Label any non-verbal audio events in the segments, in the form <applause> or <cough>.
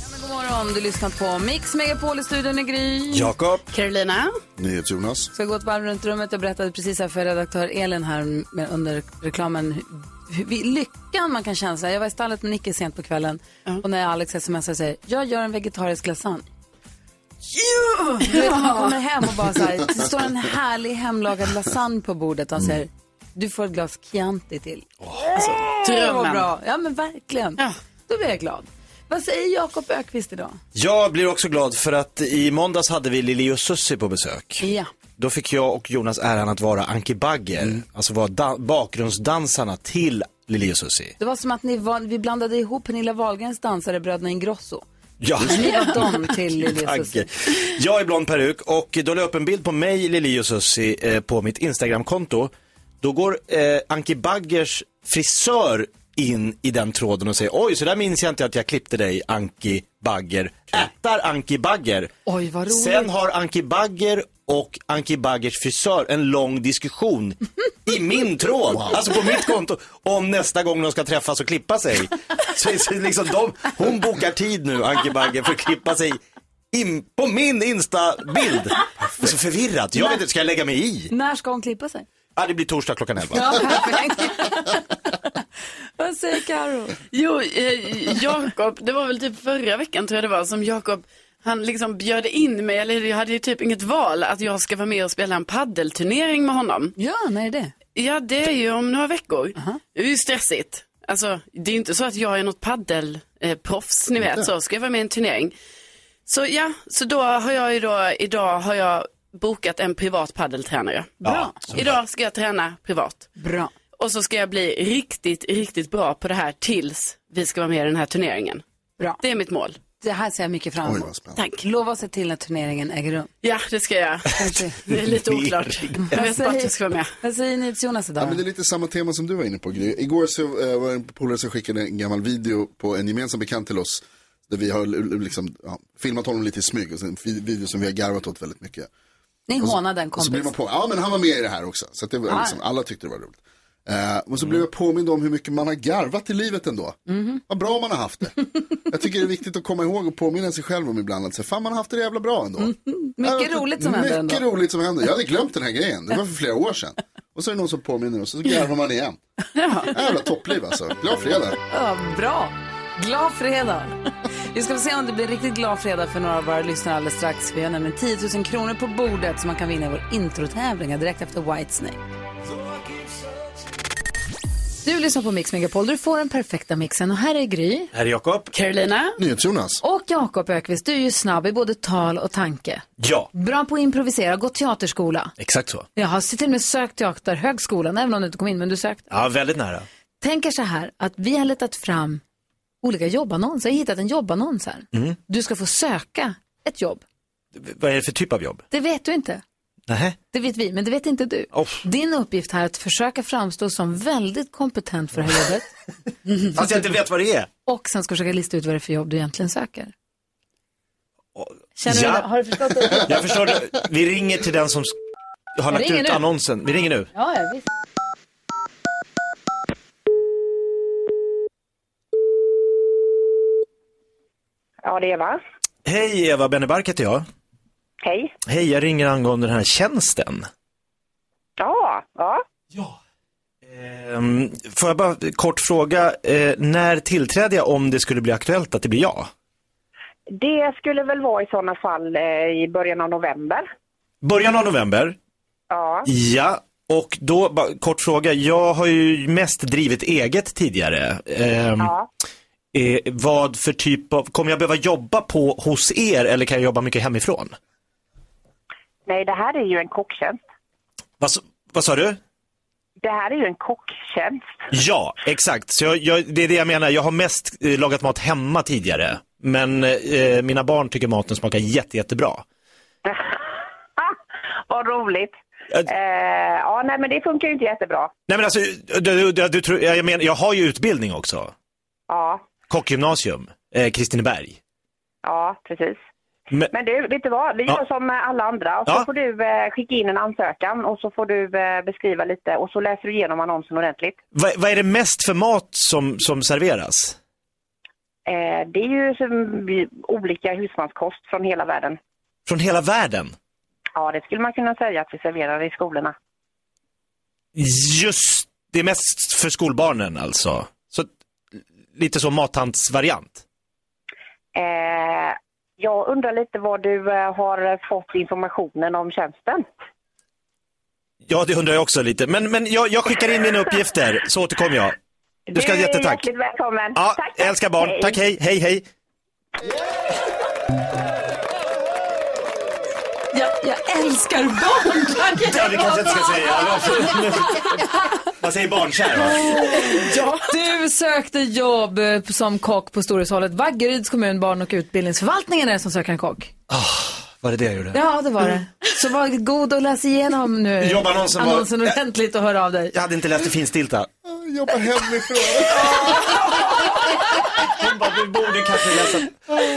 Ja, men god morgon, du lyssnar på Mix Megapol i studion i Gry. Jakob. Carolina. NyhetsJonas. Ska gå ett varv runt rummet. Jag berättade precis här för redaktör Elin här med, under reklamen hur- hur- hur- lyckan man kan känna. Så här, Jag var i stallet med Nicke sent på kvällen och när Alex smsar och säger jag gör en vegetarisk lasagne. Jo! Du vet, man kommer hem och bara så här, det står en härlig hemlagad lasagne på bordet och han säger du får ett glas Chianti till. Mm. Alltså, Det var drömmen. bra. Ja men verkligen. Då blir jag glad. Vad säger Jakob Ökvist idag? Jag blir också glad för att i måndags hade vi Lili och Susie på besök. Ja. Mm. Då fick jag och Jonas äran att vara Anki Bagger, alltså vara da- bakgrundsdansarna till Lili och Susie. Det var som att ni var, vi blandade ihop Pernilla Wahlgrens dansare Bröderna Ingrosso. Ja. Ni var dem till <laughs> Lili och Bagger. Susie. Jag är blond peruk och då la jag upp en bild på mig, Lili och Susie eh, på mitt Instagramkonto. Då går eh, Anki Baggers frisör in i den tråden och säger oj, så där minns jag inte att jag klippte dig Anki Bagger. Ättar Anki Bagger. Oj, vad roligt. Sen har Anki Bagger och Anki Baggers frisör en lång diskussion i min tråd, alltså på mitt konto, om nästa gång de ska träffas och klippa sig. Så, så liksom de, hon bokar tid nu, Anki Bagger, för att klippa sig in, på min Insta-bild. Det är så förvirrat, jag vet inte, ska jag lägga mig i? När ska hon klippa sig? Ja, det blir torsdag klockan 11. <laughs> Vad säger Karo? Jo, eh, Jakob, det var väl typ förra veckan tror jag det var som Jakob, han liksom bjöd in mig, eller jag hade ju typ inget val att jag ska vara med och spela en paddelturnering med honom. Ja, när är det? Ja, det är ju om några veckor. Det är ju stressigt. Alltså, det är ju inte så att jag är något paddelproffs, ni vet, så ska jag vara med i en turnering. Så ja, så då har jag ju då, idag har jag bokat en privat paddeltränare. Bra. Idag ska jag träna privat. Bra. Och så ska jag bli riktigt, riktigt bra på det här tills vi ska vara med i den här turneringen. Bra. Det är mitt mål. Det här ser jag mycket fram emot. Tack. Lova sig till när turneringen äger rum. Ja, det ska jag. Det är lite oklart. Jag vet bara att jag ska vara med. Vad säger ni till Jonas Ja, idag? men det är lite samma tema som du var inne på Gry. Igår så eh, var det en polare som skickade en gammal video på en gemensam bekant till oss. Där vi har eh, liksom, ja, filmat honom lite i smyg och sen en fi- video som vi har garvat åt väldigt mycket. Ni hånar den Och kompis. så blev alltså, man på, ja men han var med i det här också. Så att det var, Ah. liksom, alla tyckte det var roligt. Eh, och så blev jag påmind om hur mycket man har garvat i livet ändå. Mhm. Vad bra man har haft det. jag tycker det är viktigt att komma ihåg och påminna sig själv om ibland. Att, så här, fan man har haft det jävla bra ändå. Mm. Mycket Ja, alltså, roligt som händer ändå. Mycket roligt som händer. Jag hade glömt den här grejen. Det var för flera år sedan. Och så är det någon som påminner oss och så garvar man igen. Jävla toppliv alltså. Glad fredag. Ja, bra. Glad fredag. Vi ska få se om det blir riktigt glad fredag för några av våra lyssnare alldeles strax. Vi har nämligen 10 000 kronor på bordet som man kan vinna i vår introtävling direkt efter Whitesnake. Du lyssnar på Mix Megapol, du får den perfekta mixen och här är Gry. Här är Jakob. Carolina? NyhetsJonas. Och Jakob Ökvist, du är ju snabb i både tal och tanke. Ja, Bra på att improvisera, gått teaterskola. exakt så. Jag har till och med sökt teaterhögskolan, även om du inte kom in, men du sökte. Ja, väldigt nära. Tänker så här, att vi har letat fram olika jobbannonser. Jag har hittat en jobbannons här. Mm. Du ska få söka ett jobb. Vad är det för typ av jobb? Det vet du inte. Nähä? Det vet vi, men det vet inte du. Oh. Din uppgift här är att försöka framstå som väldigt kompetent för det Oh. här jobbet. Fast jag inte vet vad det är. Och sen ska försöka lista ut vad det är för jobb du egentligen söker. Känner Oh. Ja. du, har du förstått det? Jag förstår, det. vi ringer till den som s- har lagt ringer nu. ut annonsen. Vi ringer nu. Ja, ja, visst. Ja, det är Eva. Hej, Eva Bennebark heter jag. Hej. Hej, jag ringer angående den här tjänsten. Ja, ja. Ehm, får jag bara kort fråga, eh, när tillträder jag om det skulle bli aktuellt att det blir jag? Det skulle väl vara i sådana fall eh, i början av november. Början av november? Ja, Ja. Och då, bara kort fråga, jag har ju mest drivit eget tidigare. Ehm, ja. eh, vad för typ av, kommer jag behöva jobba på hos er eller kan jag jobba mycket hemifrån? Nej, det här är ju en kocktjänst. Vad, s- vad sa du? Det här är ju en kocktjänst. <laughs> Ja, exakt. Så jag, jag, det är det jag menar. Jag har mest eh, lagat mat hemma tidigare. Men eh, mina barn tycker maten smakar jätte, jättebra. Ah, vad roligt. Jag, Eh, ja, nej, men det funkar ju inte jättebra. nej men alltså, du, du, du, du, tror- jag, menar, jag har ju utbildning också. Ja, Kockgymnasium, eh, Kristineberg. ja, precis. Men, Men du, vet du vad? Vi Ja. gör som eh, alla andra. Och så Ja. får du eh, skicka in en ansökan och så får du eh, beskriva lite och så läser du igenom annonsen ordentligt. vad, vad är det mest för mat som, som serveras? Eh, det är ju som, vi- olika husmanskost från hela världen. Från hela världen? Ja, det skulle man kunna säga att vi serverar i skolorna. Just, det är mest för skolbarnen alltså. Så, att, lite så mathantsvariant. Eh, jag undrar lite var du eh, har fått informationen om tjänsten. Ja, det undrar jag också lite. Men, men jag, jag skickar in mina uppgifter, så återkommer jag. Du ska ha är jättetack. hjärtligt välkommen. Ja, jag älskar barn. Tack, hej, hej, hej. Jag, jag älskar barn! Ja, det kanske jag inte ska säga. Man säger barnkär, va? Du sökte jobb eh, som kock på Storhushållet. Vaggeryds kommun, barn och utbildningsförvaltningen är det som söker en kock. Var det det jag gjorde? Ja, det var det. Så var god och läs igenom nu Jobbannonsen var- annonsen ordentligt och hör av dig. Jag hade inte läst det finstilta. Jag jobbar hemifrån. Hon bara, du borde kanske läsa.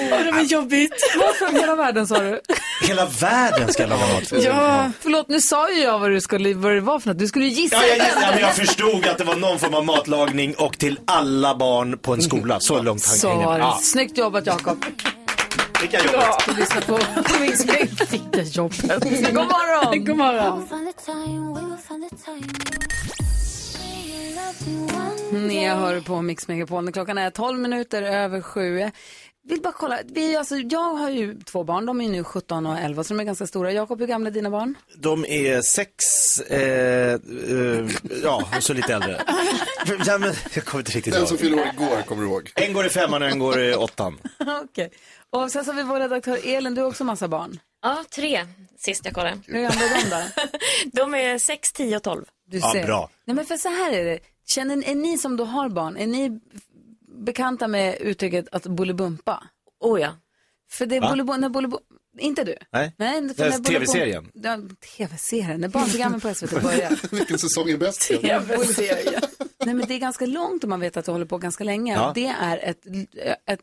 Ja, det var jobbigt. Varför i hela världen sa du? Hela världen ska laga mat för. Ja, Förlåt, nu sa ju jag vad, du skulle, vad det var för något. Du skulle ju gissa. Ja, jag, gissar, men jag förstod att det var någon form av matlagning och till alla barn på en skola. Så långt han Så, hängde med. Ja, Snyggt jobbat Jakob. vilka jobbet. Du lyssnar på på Mix Megapol. Fick det jobbet. God morgon. god morgon. Ni hör på Mix Megapol. Klockan är 12 minuter över sju. Vill bara kolla. Vi, alltså, jag har ju två barn. De är nu 17 och 11, så de är ganska stora. Jakob, hur gamla är dina <laughs> barn? De är sex, eh, eh, ja, och så lite äldre. Ja, men, jag kommer inte riktigt Den som ihåg. fyllde år igår kommer du ihåg. En går i femman och en går i åttan. Okej. Och sen så har vi vår redaktör Elin. Du har också massa barn. Ja, tre sist jag kollade. Hur gamla är de då? De är 6, 10 och 12. Du Ja, bra. Nej, men för så här är det. Känner, är ni som då har barn, är ni bekanta med uttrycket att bullybumpa? Oh ja. För det är Va? Bolibom, när Bolibom, inte du? Nej. Nej för Det är när Bolibom- TV-serien. Ja, tv-serien, när barnprogrammen på SVT <laughs> börjar. Vilken säsong är bäst? Nej men det är ganska långt om man vet att det håller på ganska länge. Ja. Det är ett, ett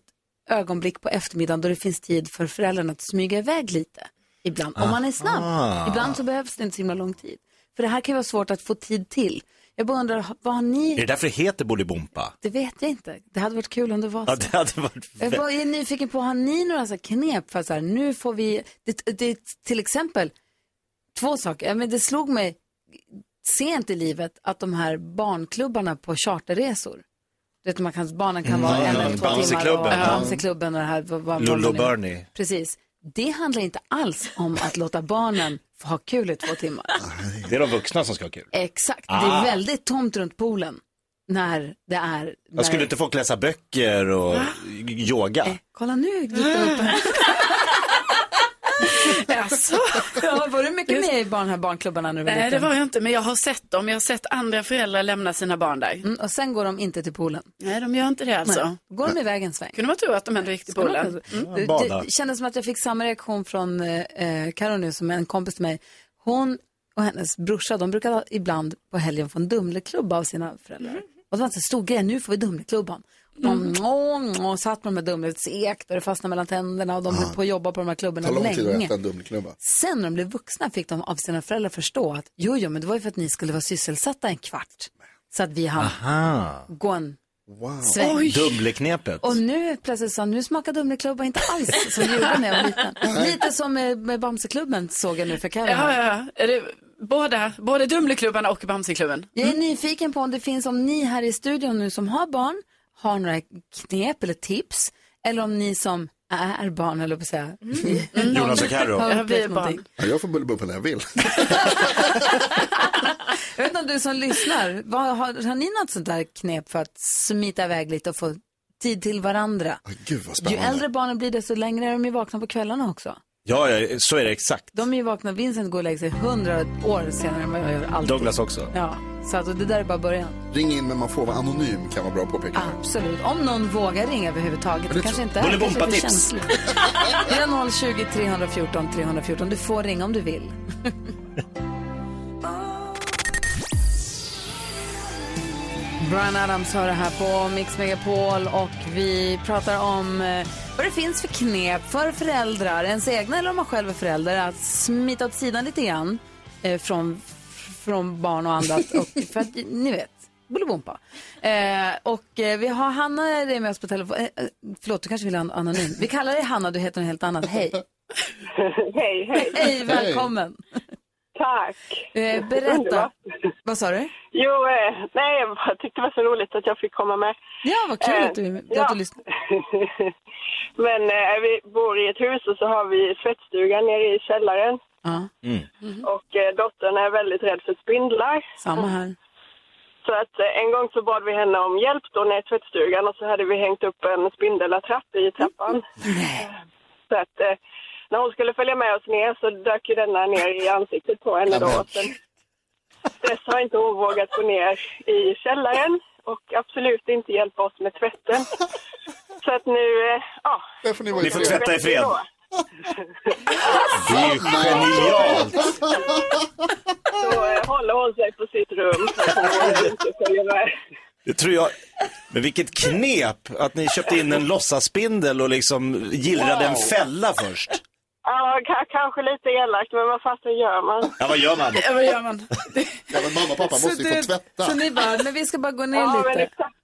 ögonblick på eftermiddagen då det finns tid för föräldrarna att smyga iväg lite. Ibland, om man är snabb. Ah. Ibland så behövs det inte så himla lång tid. För det här kan ju vara svårt att få tid till. Jag bara undrar, vad har Är det ni? därför det heter Bolibompa? Det vet jag inte. Det hade varit kul om det var så. Ja, det hade varit... Jag var jag är nyfiken på, har ni några så här knep för att så här, nu får vi, det, det, till exempel, två saker, Ja, men det slog mig sent i livet att de här barnklubbarna på charterresor, du vet man kan, barnen Mm. kan vara en eller två timmar och Bamseklubben. Bamseklubben och det här. vad- vad- vad Lollo det nu- Bernie. Precis. Det handlar inte alls om att låta barnen få ha kul i två timmar. Det är de vuxna som ska ha kul. Exakt, det Ah. är väldigt tomt runt poolen när det är... När... Jag skulle inte folk läsa böcker och yoga? Kolla nu gick <laughs> det upp Alltså, Ja, var du mycket med i barn, här barnklubbarna när du var nej, det liten? var jag inte, men jag har sett dem. Jag har sett andra föräldrar lämna sina barn där. Mm, och sen går de inte till poolen. Nej, de gör inte det alltså. Går de iväg en sväng? Kunde man tro att de ändå gick till poolen. Mm. Det, Bada. det kändes som att jag fick samma reaktion från eh, eh, Karo nu som är en kompis till mig. Hon och hennes brorsa, de brukade ibland på helgen få en Dumleklubba av sina föräldrar. Mm. Och det var en sån stor grej, nu får vi Dumleklubban. Mm. Och, och satt på de här Dumlet segt och det fastnade mellan tänderna och de höll på att jobba på de här klubborna Ta lång tid att länge. äta en Dumleklubba. Sen när de blev vuxna fick de av sina föräldrar förstå att jo, jo, men det var ju för att ni skulle vara sysselsatta en kvart. Så att vi hann Ah, gå en Wow. sväng. Dumleknepet. Och nu plötsligt sa han, nu smakar Dumleklubba inte alls som det gjorde när jag var <laughs> liten. Lite som med, med Bamseklubben såg jag nu för Carro. Ja, här. ja, ja. Är det Båda, både Dumleklubban och Bamseklubben. Jag är nyfiken på om det finns, om ni här i studion nu som har barn, har några knep eller tips. Eller om ni som är barn, eller på att säga. Jonas <laughs> och Carro. har Mm. Ja, vi är upplevt någonting. barn. Ja, jag får bullybumpa när jag vill. Jag vet inte om du som lyssnar, vad, har, har ni något sånt där knep för att smita iväg lite och få tid till varandra? Gud vad Ju spännande. äldre barnen blir desto längre är de ju vakna på kvällarna också. Ja, ja, så är det exakt. De är ju vakna, Vincent går och lägger sig hundra år senare än vad jag gör alltid. Douglas också. Ja, så att, och det där är bara början. Ring in men man får vara anonym kan vara bra att påpeka. Absolut, om någon vågar ringa överhuvudtaget. Det kanske inte är, det kanske är för Bullybompa-tips. känsligt. <laughs> Det är 020 314 314. Du får ringa om du vill. <laughs> Brian Adams hör det här på Mix Megapol och vi pratar om eh, vad det finns för knep för föräldrar, ens egna eller om man själv är förälder, att smita åt sidan lite grann eh, från, från barn och annat. Och, för att, ni vet, Bolibompa. Eh, och eh, vi har Hanna är med oss på telefon. Eh, eh, förlåt, du kanske vill ha en anonym. Vi kallar dig Hanna, du heter något helt annat. Hej. hej, <laughs> hej. Hej, välkommen. Tack. Eh, berätta. Underbart. Vad sa du? Jo, eh, nej, jag bara tyckte det var så roligt att jag fick komma med. <laughs> Ja, vad kul Eh, att du, att ja. du lyssnar. Men eh, vi bor i ett hus och så har vi svettstugan nere i källaren. Ja, Mm. Och eh, dottern är väldigt rädd för spindlar. samma här. Så att eh, en gång så bad vi henne om hjälp då nere i tvättstugan och så hade vi hängt upp en spindelattrapp i trappan. Så att eh, när hon skulle följa med oss ner så dök ju denna ner i ansiktet på henne då. Och Sen, dess har inte hon vågat gå ner i källaren och absolut inte hjälpa oss med tvätten. Så att nu, eh, ja. Där får ni vara Ni får tvätta i bättre fred. då. Det är ju genialt. Så eh, håller hon sig på sitt rum. Så att hon inte följer med. Det tror jag. Men vilket knep att ni köpte in en låtsaspindel och liksom gillrade en fälla först. Ja, ka- kanske lite elakt men vad fasen gör man? Ja, vad gör man? Ja, vad gör man? Ja, men mamma och pappa måste ju få tvätta. så ni bara, men vi ska bara gå ner Ja, men lite. exakt.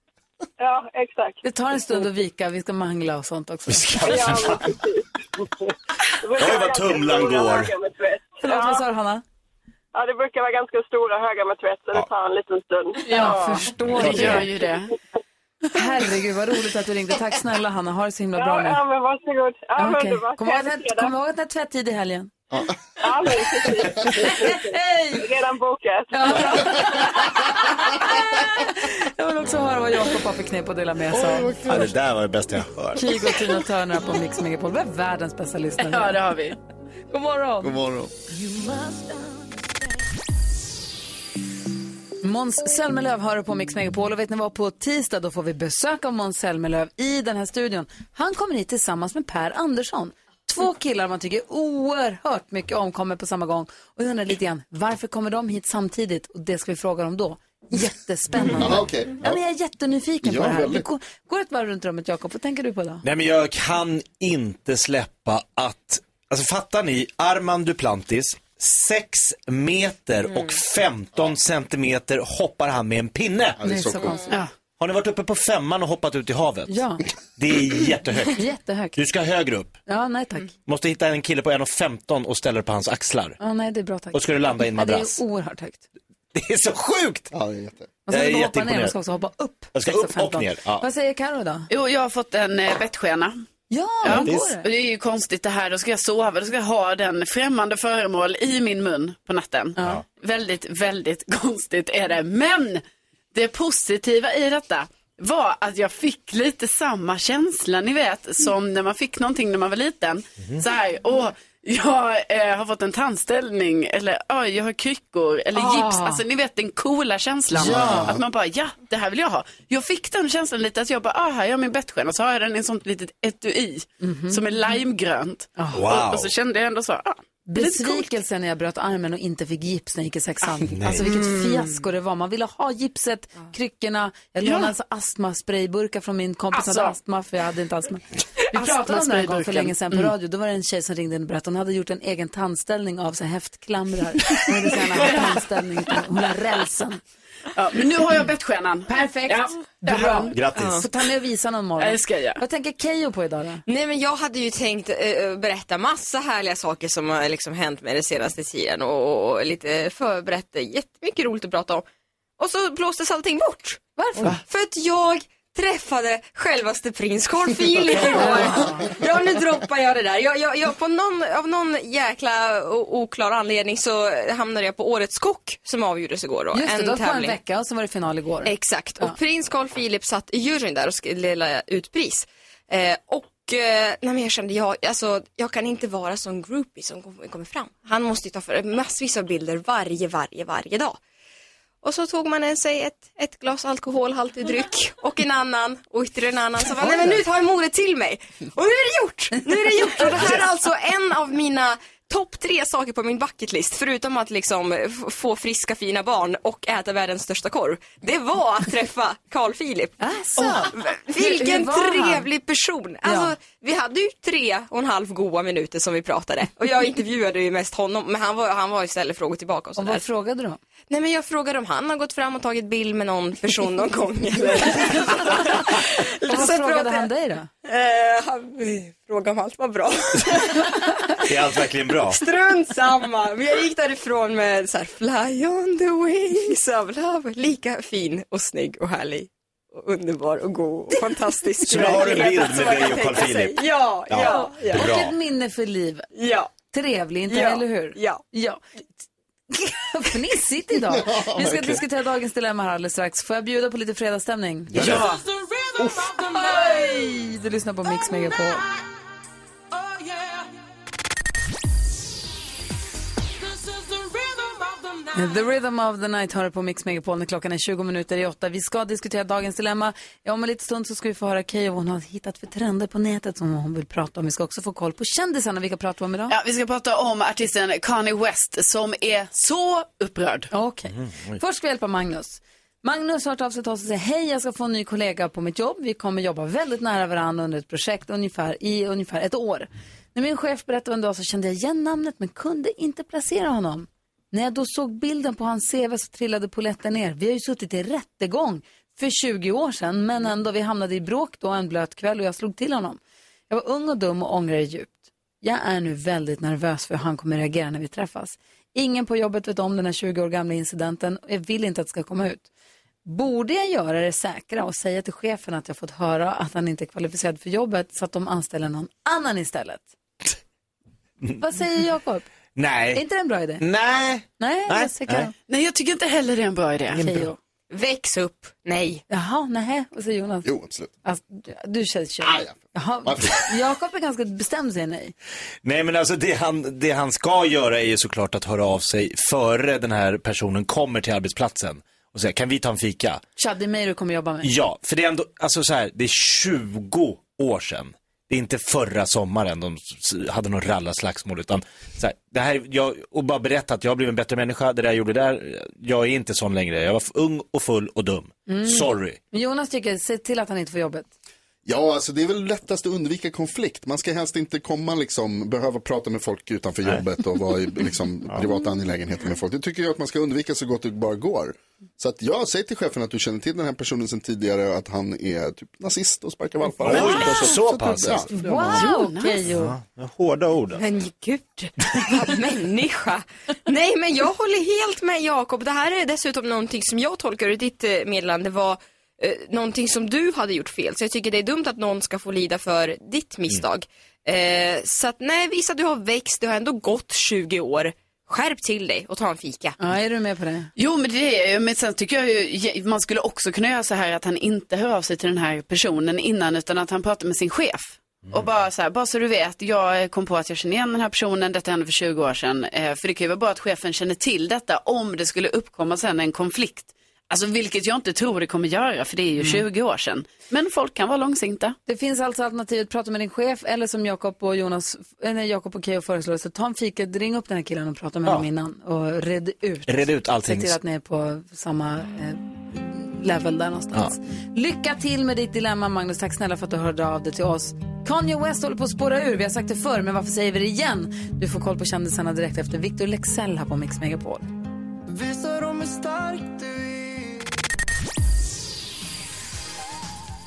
Ja, <laughs> exakt. Det tar en stund att vika, vi ska mangla och sånt också. Ja, men precis. Det brukar Oj, vad vara ganska tumlan stora går. högar med tvätt. Förlåt, vad sa Ja, du Hanna? ja, det brukar vara ganska stora högar med tvätt så det tar en liten stund. Jag förstår Det gör det. ju det. Herregud, vad roligt att du ringde. Tack snälla Hanna, ha det så himla bra Ja, nu. ja men varsågod. Ja, men Okej. underbart. Kom ihåg Trevlig att- fredag. kom ihåg att det är tvättid i <laughs> helgen. Ja, men precis. Hej! Redan bokat. <laughs> Jag vill också höra vad Jakob har för knep att dela med sig av. Ja, det där var det bästa jag hört. Kygo och Tina Turner på Mix Megapol. Vi är världens bästa lyssnare. Ja, det har vi. God morgon! God morgon. Måns Zelmerlöw hör du på Mix Megapol och vet ni vad, på tisdag då får vi besök av Måns Zelmerlöw i den här studion. Han kommer hit tillsammans med Per Andersson. Två killar man tycker oerhört mycket om kommer på samma gång. Och jag undrar lite grann, varför kommer de hit samtidigt? Och det ska vi fråga dem då. Jättespännande. Ja, okej. ja, men jag är jättenyfiken Ja, på det här. Vi väldigt. går, går ett varv runt rummet, Jakob. Vad tänker du på då? Nej men jag kan inte släppa att, alltså fattar ni, Armand Duplantis, 6 meter Mm. och 15 centimeter hoppar han med en pinne. Ja, det är så coolt. konstigt. Ja. Har ni varit uppe på femman och hoppat ut i havet? Ja, Det är jättehögt. jättehögt. Du ska högre upp. Ja, nej tack. Måste hitta en kille på 1,15 och ställa dig på hans axlar. Ja, nej, det är bra tack. Och ska du landa i en Ja, det madrass. är oerhört högt. Det är så sjukt! Ja, det är jätte... Man ska Jag är inte bara hoppa ner, man jätteimponerad. ska också hoppa upp. Jag ska 6 upp och 15. ner, ja. Vad säger Karo då? Jo, jag har fått en eh, bettskena. Ja, Ja. hur går Och det är ju konstigt det här, då ska jag sova, då ska jag ha den främmande föremål i min mun på natten. Väldigt, väldigt <laughs> konstigt är det. Men det positiva i detta var att jag fick lite samma känsla, ni vet, som när man fick någonting när man var liten. Så här, åh, jag eh, har fått en tandställning eller oj, jag har kryckor eller Ah. gips. Alltså ni vet den coola känslan. Att man bara, ja, det här vill jag ha. Jag fick den känslan lite att jag bara, ah, här har jag min bettskena och så har jag den i en sånt litet etui Mhm. som är limegrönt. Ah. Och, Wow! och så kände jag ändå så, ah, det är lite coolt. Besvikelsen när jag bröt armen och inte fick gips när jag gick i Ah, sexan. alltså vilket fiasko det var. Man ville ha gipset, kryckorna. Jag lånade Ja. alltså astmasprayburkar från min kompis som hade Alltså. astma för jag hade inte astma. Vi pratade om det här Mm. en gång för Astmasprayburken. länge sedan på radio. Då var det en tjej som ringde in och berättade. Hon hade gjort en egen tandställning av så här <laughs> häftklamrar. Hon ville så gärna ha tandställning. Hon la rälsen. Ja, men nu har jag bettstjärnan. Perfekt. Ja. Bra. Grattis. Får ta med och visa någon morgon. Ja, det ska jag. Vad tänker Keyyo på idag då? Nej men jag hade ju tänkt eh, berätta massa härliga saker som har liksom hänt mig den senaste tiden och, och, och lite förberett det. jättemycket roligt att prata om. Och så blåstes allting bort. Varför? För att jag träffade självaste prins Carl Philip igår. ja nu droppar jag det där. Jag, jag, jag, på någon, av någon jäkla o- oklar anledning så hamnade jag på Årets Kock som avgjordes igår då. Just det, en då var en tävling. vecka och så var det final igår. Exakt, och prins Carl Philip satt i juryn där och skulle dela ut pris. Eh, och Och eh, nej, men jag kände, jag, alltså, jag kan inte vara sån groupie som kom- kommer fram. Han måste ju ta för massvis av bilder varje, varje, varje dag. Och så tog man en sig ett, ett glas alkoholhaltig dryck och en annan och ytterligare en annan. Så bara, nej men nu tar jag modet till mig. Och nu är det gjort! Nu är det gjort! Och det här är alltså en av mina topp tre saker på min bucket list. Förutom att liksom f- få friska fina barn och äta världens största korv. Det var att träffa Carl Philip. Alltså. Hur- hur Vilken var han? trevlig person. Alltså, Vi hade ju tre och en halv goa minuter som vi pratade. Och jag intervjuade ju mest honom. Men han var, han var ju ställde frågor tillbaka och Och sådär. vad frågade du? Nej men jag frågade om han har gått fram och tagit bild med någon person <laughs> någon gång. Eller... Och vad Så frågade jag- han dig då? Eh, han frågade om allt var bra. <laughs> Är allt verkligen bra? Strunt samma. Men jag gick därifrån med så här fly on the wings of love. Lika fin och snygg och härlig. Och underbar och god och fantastisk. Så nu har du en bild med Som man dig kan och Carl tänka sig. Philip. Ja, ja, ja. Och Bra. ett minne för livet. ja. Trevlig, inte Ja. eller hur? Ja. ja. <laughs> Fnissigt idag. Vi ska diskutera dagens dilemma här alldeles strax. Får jag bjuda på lite fredagsstämning? Gör det. Oj, du lyssnar på Mix Megapol. The Rhythm of the Night hör på Mix Megapol när klockan är 20 minuter i åtta. Vi ska diskutera dagens dilemma. Ja, Om en liten stund så ska vi få höra Keyyo vad hon har hittat för trender på nätet som hon vill prata om. Vi ska också få koll på kändisarna. Vilka pratar vi om idag? Ja, vi ska prata om artisten Kanye West som är så upprörd. Okej. Först ska vi hjälpa Magnus. Magnus har hört av sig till oss och säger hej, jag ska få en ny kollega på mitt jobb. Vi kommer jobba väldigt nära varandra under ett projekt ungefär, i ungefär ett år. När min chef berättade vem det var så kände jag igen namnet men kunde inte placera honom. När jag då såg bilden på hans CV så trillade polletten ner. Vi har ju suttit i rättegång för 20 år sedan men ändå, vi hamnade i bråk då en blöt kväll och jag slog till honom. Jag var ung och dum och ångrade djupt. Jag är nu väldigt nervös för hur han kommer reagera när vi träffas. Ingen på jobbet vet om den här 20 år gamla incidenten och jag vill inte att det ska komma ut. Borde jag göra det säkra och säga till chefen att jag fått höra att han inte är kvalificerad för jobbet så att de anställer någon annan istället? Vad säger Jakob? Är Nej. inte det en bra idé? Nej. Nej, Nej, jag säger Nej, jag tycker inte heller det är en bra idé. Keyyo. Väx upp. Nej. Jaha, nej, vad säger Jonas? Jo, absolut. Alltså, du- du känns ju... Ah, ja. Jaha, Varför? Jakob är ganska bestämd säger nej. Nej men alltså det han, det han ska göra är ju såklart att höra av sig före den här personen kommer till arbetsplatsen och säga kan vi ta en fika? Tja, det är mig du kommer jobba med. Ja, för det är ändå, alltså så här, det är 20 år sedan. Det är inte förra sommaren de s- hade någon rallarslagsmål utan så här, det här, jag, och bara berätta att jag blev en bättre människa, det där jag gjorde där, jag är inte sån längre, jag var f- ung och full och dum. Mm. Sorry. Men Jonas tycker, se till att han inte får jobbet. Ja, alltså det är väl lättast att undvika konflikt. Man ska helst inte komma liksom, behöva prata med folk utanför jobbet och vara i <laughs> liksom, privata angelägenheter med folk. Det tycker jag att man ska undvika så gott det bara går. Så att jag säger till chefen att du känner till den här personen sedan tidigare och att han är typ nazist och sparkar valpar. Oj, Och så att- pass, ja. alltså. Wow, Keyyo. Hårda ord. Men gud, vad människa. Nej, men jag håller helt med Jakob. Det här är dessutom någonting som jag tolkar ur ditt eh, meddelande var eh, någonting som du hade gjort fel. Så jag tycker det är dumt att någon ska få lida för ditt misstag. Mm. Eh, så att nej, visa att du har växt, du har ändå gått 20 år. Skärp till dig och ta en fika. Ja, är du med på det? Jo, men det är men sen tycker jag ju, man skulle också kunna göra så här att han inte hör av sig till den här personen innan, utan att han pratar med sin chef. Och bara så här, bara så du vet, jag kom på att jag känner igen den här personen, detta hände för 20 år sedan. Eh, för det kan ju vara bra att chefen känner till detta om det skulle uppkomma sen en konflikt. Alltså vilket jag inte tror det kommer göra, för det är ju 20 år sedan. Men folk kan vara långsinta. Det finns alltså alternativet prata med din chef eller som Jakob och Jonas, eh, nej, Jakob och Keyyo föreslår, så ta en fika, ring upp den här killen och prata med honom innan och red ut. Red ut Se allting. till att ni är på samma eh, level där någonstans. Lycka till med ditt dilemma Magnus, tack snälla för att du hörde av dig till oss. Kanye West håller på att spåra ur, vi har sagt det förr men varför säger vi det igen? Du får koll på kändisarna direkt efter Victor Lexell här på Mix Megapol.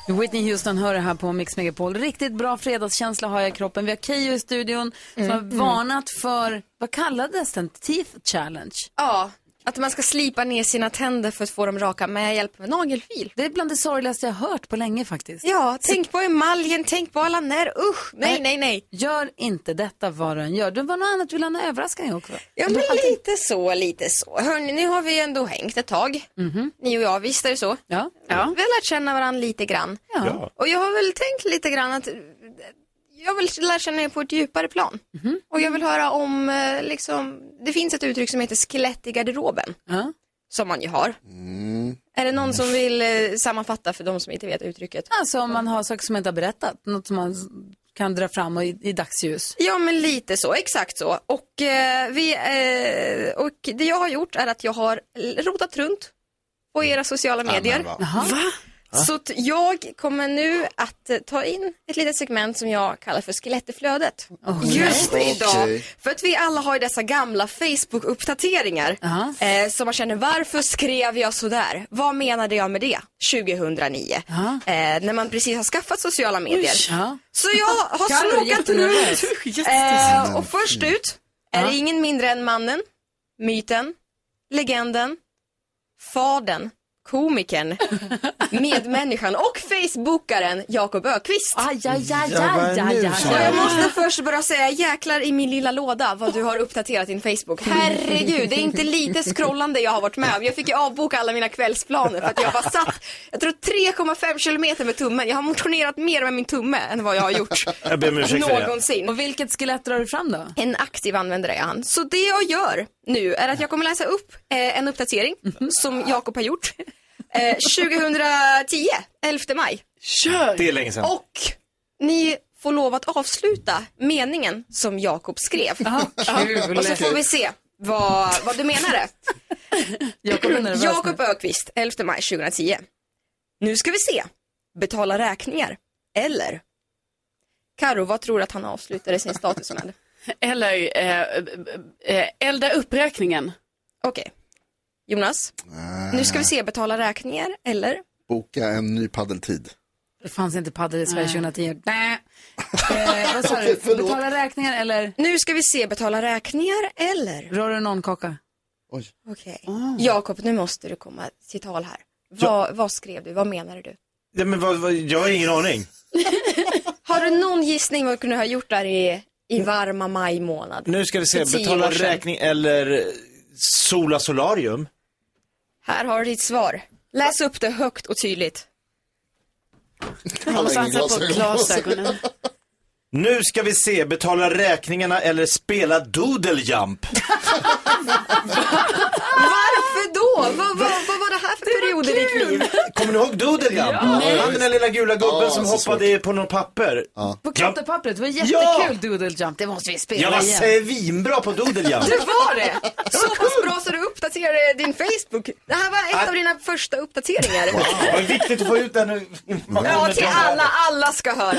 Whitney Houston hör det här på Mix Megapol. Riktigt bra fredagskänsla har jag i kroppen. Vi har Keyyo i studion som Mm, har varnat för, vad kallades den? Teeth challenge. Ja, att man ska slipa ner sina tänder för att få dem raka med hjälp av en nagelfil. Det är bland det sorgligaste jag har hört på länge faktiskt. Ja, tänk på emaljen, tänk på alla när, usch, nej, nej, nej. Gör inte detta vad du än gör. Det var något annat du ville ha en överraskning också. Ja, men lite så, lite så. Hörni, nu har vi ändå hängt ett tag. Ni och jag, visst är det så? Ja. Vi har lärt känna varandra lite grann. Ja. Och jag har väl tänkt lite grann att eh, jag vill lära känna er på ett djupare plan. Och jag vill höra om, eh, liksom, det finns ett uttryck som heter skelett i garderoben. Ja. Som man ju har. Är det någon som vill eh, sammanfatta för de som inte vet uttrycket? Alltså om man har saker som man inte har berättat, något som man s- kan dra fram och i, i dagsljus. Ja, men lite så, exakt så. Och, eh, vi, eh, och det jag har gjort är att jag har l- rotat runt på era sociala medier. va. Va? Så att jag kommer nu att eh, ta in ett litet segment som jag kallar för skelettflödet. Just idag. Okej. För att vi alla har ju dessa gamla Facebook-uppdateringar. Ja. Eh, som man känner, varför skrev jag sådär? Vad menade jag med det? 2009. Ja. Eh, när man precis har skaffat sociala medier. Ja. Så jag har Carro är snokat jättenervös. runt. Jättenervös. Eh, och först ut är det ingen mindre än mannen, myten, legenden, fadern, <laughs> komikern, medmänniskan och facebookaren Jakob Ökvist. Aj, aj, aj, Ja, vad är aj, aj, nu, aj. så? Och jag måste först bara säga jäklar i min lilla låda vad du har uppdaterat din Facebook. Herregud, det är inte lite scrollande jag har varit med om. Jag fick ju avboka alla mina kvällsplaner för att jag bara satt, <laughs> jag tror 3,5 kilometer med tummen. Jag har motionerat mer med min tumme än vad jag har gjort Jag ber om ursäkt för det. någonsin. Och vilket skelett drar du fram då? En aktiv användare är han. Så det jag gör nu är att jag kommer läsa upp eh, en uppdatering som Jakob har gjort. Eh, 2010, 11 maj. Kör! Det är länge sedan. Och ni får lov att avsluta meningen som Jakob skrev. Och så får vi se vad, vad du menade. Jakob är nervös Jakob Ökvist, 11 maj 2010. Nu ska vi se. Betala räkningar. Eller? Karo, vad tror du att han avslutade sin status med? Eller eh, eh, elda upp räkningen. Okej. Jonas, nu ska vi se. Betala räkningar eller? Boka en ny paddeltid. Det fanns inte paddel i Sverige 2010. Nej. Eh, vad sa du? förlåt. Betala räkningar eller Nu ska vi se. Betala räkningar eller? rör en nollkaka? Oj. Okej. Jakob, nu måste du komma till tal här. Vad, vad skrev du? Vad menade du? Ja, men vad, vad, jag har ingen aning. <laughs> Har du någon gissning vad du kunde ha gjort där i, i varma maj månad? Nu ska vi se, För tio betala år sedan. räkning eller sola solarium. Här har du ditt svar. Läs upp det högt och tydligt. Och ingen satsa på glasögon. glasögonen. Nu ska vi se, betala räkningarna eller spela doodle <laughs> jump. Varför då? Vad, vad, vad var det här för period i ditt liv? Kommer ni ihåg doodle jump? Han den där lilla gula gubben Ja, som så hoppade på något papper. På krattepappret, det var jättekul Ja! doodle jump. Det måste vi spela Jag var igen. svinbra på doodle <laughs> jump. Det var det! Så pass bra så du uppdaterade din Facebook. Det här var ett av dina första uppdateringar. Vad viktigt att få ut den nu. Ja, till alla. Alla ska höra.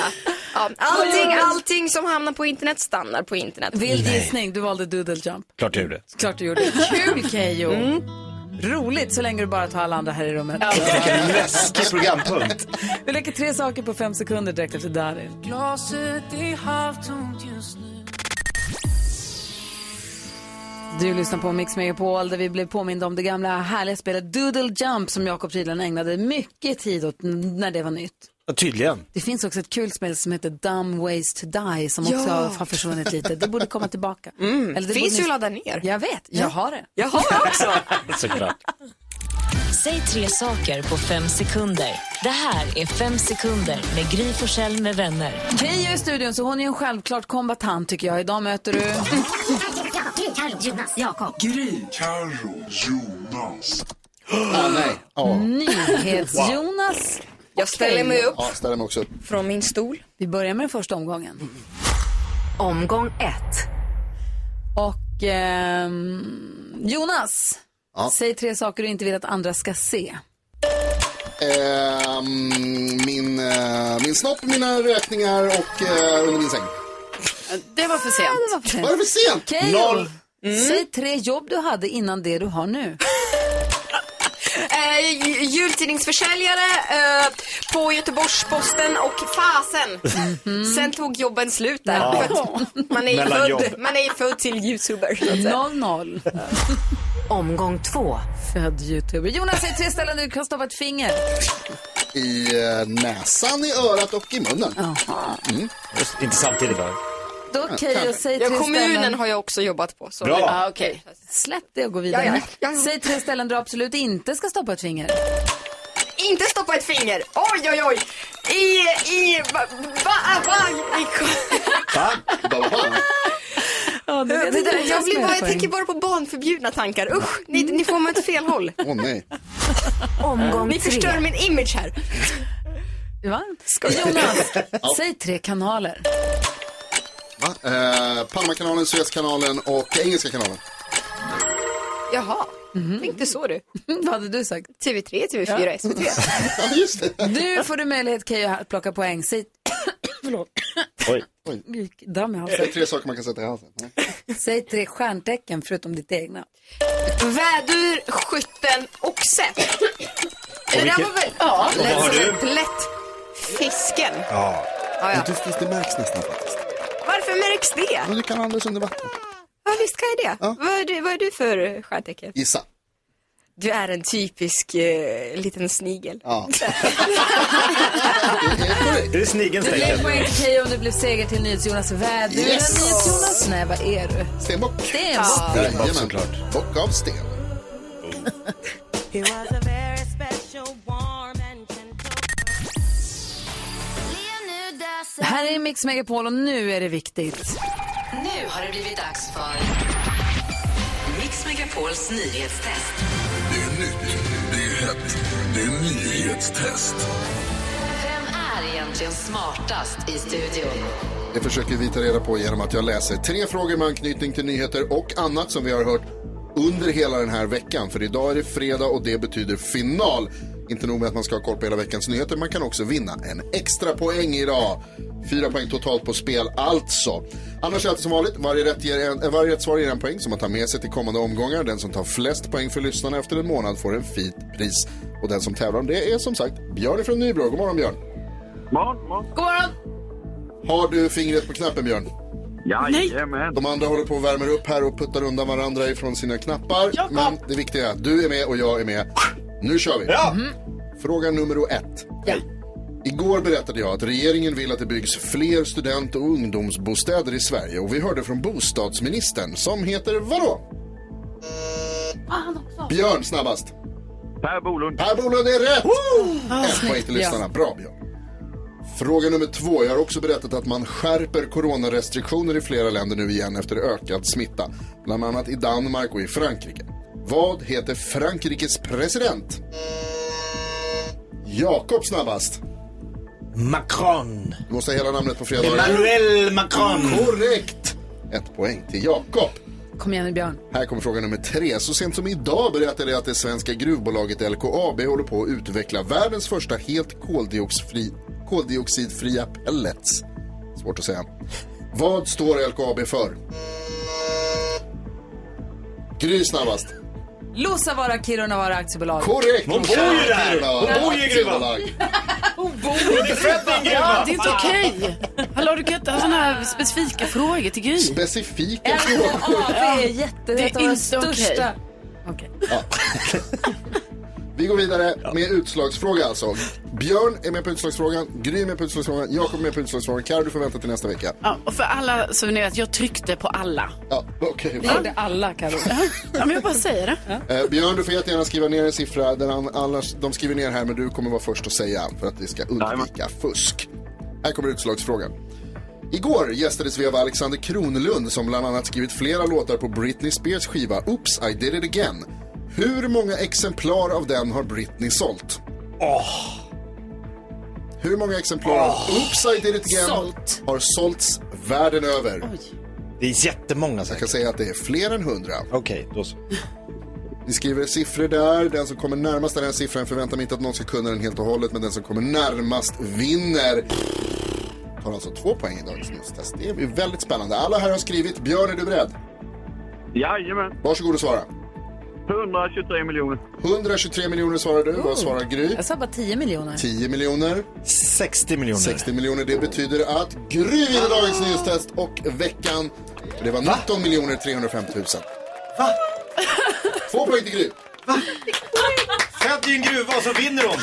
Ja, allting, allting som hamnar på internet stannar på internet. Vild gissning, du valde doodle jump. Klart du gjorde. Klart du gjorde. Kul Keyyo! Roligt så länge du bara tar alla andra här i rummet. Läskig programpunkt. Vi lägger tre saker på fem sekunder direkt efter Darin. Du lyssnar på Mix Megapol där vi blev påminda om det gamla härliga spelet Doodle Jump som Jakob tydligen ägnade mycket tid åt n- när det var nytt. Ja, tydligen. Det finns också ett kul spel som heter Dumb Ways to Die som också har försvunnit lite. Det borde komma <laughs> tillbaka. Mm. Eller det Finns ju borde att ni- ladda ner. Jag vet, jag har det. Jag har också. Såklart. Säg tre saker på fem sekunder. Det här är Fem sekunder med Gry Forssell med vänner. <laughs> Keyyo är i studion så hon är en självklart kombatant tycker jag. Idag möter <laughs> du... Ah, nej. Ja. Nyhets-Jonas. Jag ställer mig upp ja, ställer mig också upp. från min stol. Vi börjar med den första omgången. Omgång ett. Och ehm, Jonas, Ja. säg tre saker du inte vill att andra ska se. Ehm, min, eh, min snopp, mina räkningar och eh, under min säng. Det var för sent. Var det för sent? Keyyo, Mm. säg tre jobb du hade innan det du har nu. Eh, j- jultidningsförsäljare eh, på Göteborgs-Posten och Fasen. Sen tog jobben slut där. För att Man, är ju Mellanjobb. född, man är ju född till youtuber. så att säga. 0-0. <laughs> Omgång två. Född youtuber. Jonas, säg tre ställen du kan stoppa ett finger. I eh, näsan, i örat och i munnen. Just, inte samtidigt bara. Då Keyyo, säg Ja, tre kommunen ställen... har jag också jobbat på. Så Bra. Ah, okay. Släpp det och gå vidare. Ja, ja. Ja, ja. Säg tre ställen du absolut inte ska stoppa ett finger. I inte stoppa ett finger. Oj, oj, oj. I, i, va, va, va, i Ja, det det vet inte där, vad jag, blir bara, jag spelar tänker poäng. bara på barnförbjudna tankar. Usch, ni, ni får mig åt fel håll. Åh nej. Omgång Ni förstör min image här. Va? Jonas, säg tre kanaler. Va? Eh, Panamakanalen, Suezkanalen och Engelska kanalen. Jaha, inte så du. Mm, Vad hade du sagt? TV3, TV4, Ja. SVT. Ja, just det. Nu får du möjlighet Keyyo att plocka poäng. Säg, <coughs> Oj. Oj. Gud, damm i Det är halsen. tre saker man kan sätta i halsen. Ja. Säg tre stjärntecken förutom ditt egna. Vädur, skytten och sätt. Det där vilket- var väl, ja, vad lät har som du? en plätt. Fisken. Ja. Ja, ja. Du, fast det märks nästan faktiskt. Varför märks det? Men du kan andas under vatten. Ja, visst kan jag det. Vad, är du, vad är du för stjärntecken? Gissa. Du är en typisk eh, liten snigel. Ja. Det är korrekt. Det är snigelns Tre tecken. poäng till Keyyo om det blev seger till NyhetsJonas. Väder. Yes! NyhetsJonas, nej vad är du? Stenbock. Det är en bock. Jajamän. såklart. Bock av sten. Det här är Mix Megapol och nu är det viktigt. Nu har det blivit dags för Mix Megapols nyhetstest. Vem är egentligen smartast i studion? Det försöker vi ta reda på genom att jag läser tre frågor med anknytning till nyheter och annat som vi har hört under hela den här veckan. För idag är det fredag och det betyder final. Inte nog med att man ska ha koll på hela veckans nyheter, man kan också vinna en extra poäng idag. Fyra poäng totalt på spel alltså. Annars är det alltid som vanligt, varje rätt, ger en, eh, varje rätt svar ger en poäng som man tar med sig till kommande omgångar. Den som tar flest poäng för lyssnarna efter en månad får en fint pris. Och den som tävlar om det är som sagt Björn från Nybro. God morgon Björn! God morgon! Har du fingret på knappen Björn? Jajamän. De andra håller på och värmer upp här och puttar undan varandra ifrån sina knappar. Jakob! Men det viktiga är att du är med och jag är med. Nu kör vi! Ja. Fråga nummer ett. Ja. Igår berättade jag att regeringen vill att det byggs fler student och ungdomsbostäder i Sverige och vi hörde från bostadsministern som heter vadå? Björn snabbast. Per Bolund. Per Bolund är rätt! Ett poäng till lyssnarna. Bra Björn. Fråga nummer två. Jag har också berättat att man skärper coronarestriktioner i flera länder nu igen efter ökad smitta. Bland annat i Danmark och i Frankrike. Vad heter Frankrikes president? Jakob snabbast. Macron. Du måste ha hela namnet på fredag. Emmanuel Macron. Korrekt! Ett poäng till Jakob. Kom igen nu Björn. Här kommer fråga nummer tre. Så sent som idag berättade jag att det svenska gruvbolaget LKAB håller på att utveckla världens första helt koldioxidfri, koldioxidfria pellets. Svårt att säga. Vad står LKAB för? Gry snabbast. Luossavaara Kirunavaara Aktiebolag. Korrekt! Hon bor ju där! Hon bor ju i gruvan. Ja, det är inte okej. Hallå, du kan inte ha sådana här specifika frågor till Gry. Specifika frågor. Ja, det är jätte... Det är inte inte okej. största. Okej. Vi går vidare med utslagsfråga alltså. Björn är med på utslagsfrågan, Gry är med på utslagsfrågan, Jakob är med på utslagsfrågan. Carro, du får vänta till nästa vecka. Ja, och för alla så ni vet, jag tryckte på alla. Ja, okej. Det gjorde alla Karo. Ja, men jag bara säger det. Eh, Björn, du får jättegärna skriva ner en siffra. Där han, annars, de skriver ner här, men du kommer vara först att säga för att vi ska undvika fusk. Här kommer utslagsfrågan. Igår gästades vi av Alexander Kronlund som bland annat skrivit flera låtar på Britney Spears skiva Oops, I did it again. Hur många exemplar av den har Britney sålt? Hur många exemplar av Oops, I did it again Sålt. har sålts världen över? Det är jättemånga Jag kan säkert. säga att det är fler än hundra. Okej, då så. Vi skriver siffror där. Den som kommer närmast den här siffran förväntar mig inte att någon ska kunna den helt och hållet, men den som kommer närmast vinner. Tar alltså två poäng i dagens nyhetstest. Det är väldigt spännande. Alla här har skrivit. Björn, är du beredd? Jajamän. Varsågod och svara. 123 miljoner. 123 miljoner svarar du. Vad svarar Gry? Jag sa bara 10 miljoner. 10 miljoner. 60 miljoner. 60 miljoner. Det betyder att Gry vinner dagens nyhetstest och veckan. Det var 19 miljoner 305 000. Va? Två poäng till Gry. Sätt i en gruva och så vinner de.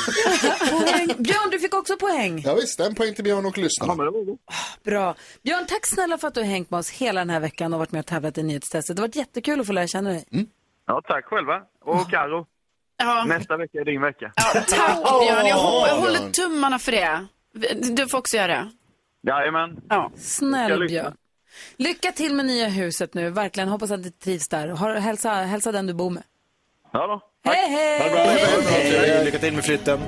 Poäng. Björn, du fick också poäng. Ja, visst, en poäng till Björn och lyssnarna. Bra. Björn, tack snälla för att du har hängt med oss hela den här veckan och varit med och tävlat i nyhetstestet. Det har varit jättekul att få lära känna dig. Ja, tack själva. Och Karo. Nästa vecka är din vecka. Tack Björn, jag, hå- jag håller tummarna för det. Du får också göra det. Jajamän. Ja. Jag Snäll lyssnar. Björn. Lycka till med nya huset nu, verkligen. Hoppas att du trivs där. Har, hälsa, hälsa den du bor med. Ja då. Hej, Hej, lycka till med flytten.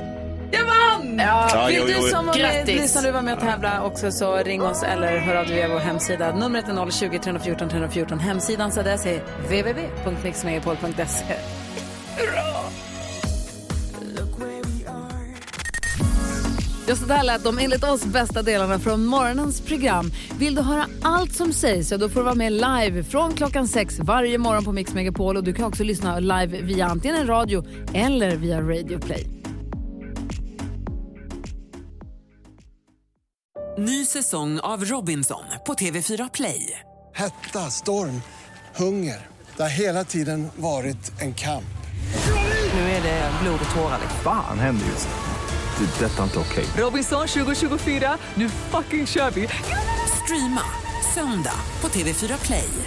Jag vann! Ja, Vill jo, jo, du jo. som var med, Grattis. lyssnar du var med och tävla också så ring oss eller hör av dig via vår hemsida. Numret är 020 314 314. Hemsidan så adress är www.mixmegapol.se. Just det här lät de enligt oss bästa delarna från morgonens program. Vill du höra allt som sägs så då får du vara med live från klockan sex varje morgon på Mix Megapol och du kan också lyssna live via antingen radio eller via Radio Play. Ny säsong av Robinson på TV4 Play. Hetta, storm, hunger. Det har hela tiden varit en kamp. Nu är det blod och tårar. liksom. Fan händer just nu. Det. är Detta är inte okej. Robinson 2024, nu fucking kör vi! Streama söndag på TV4 Play.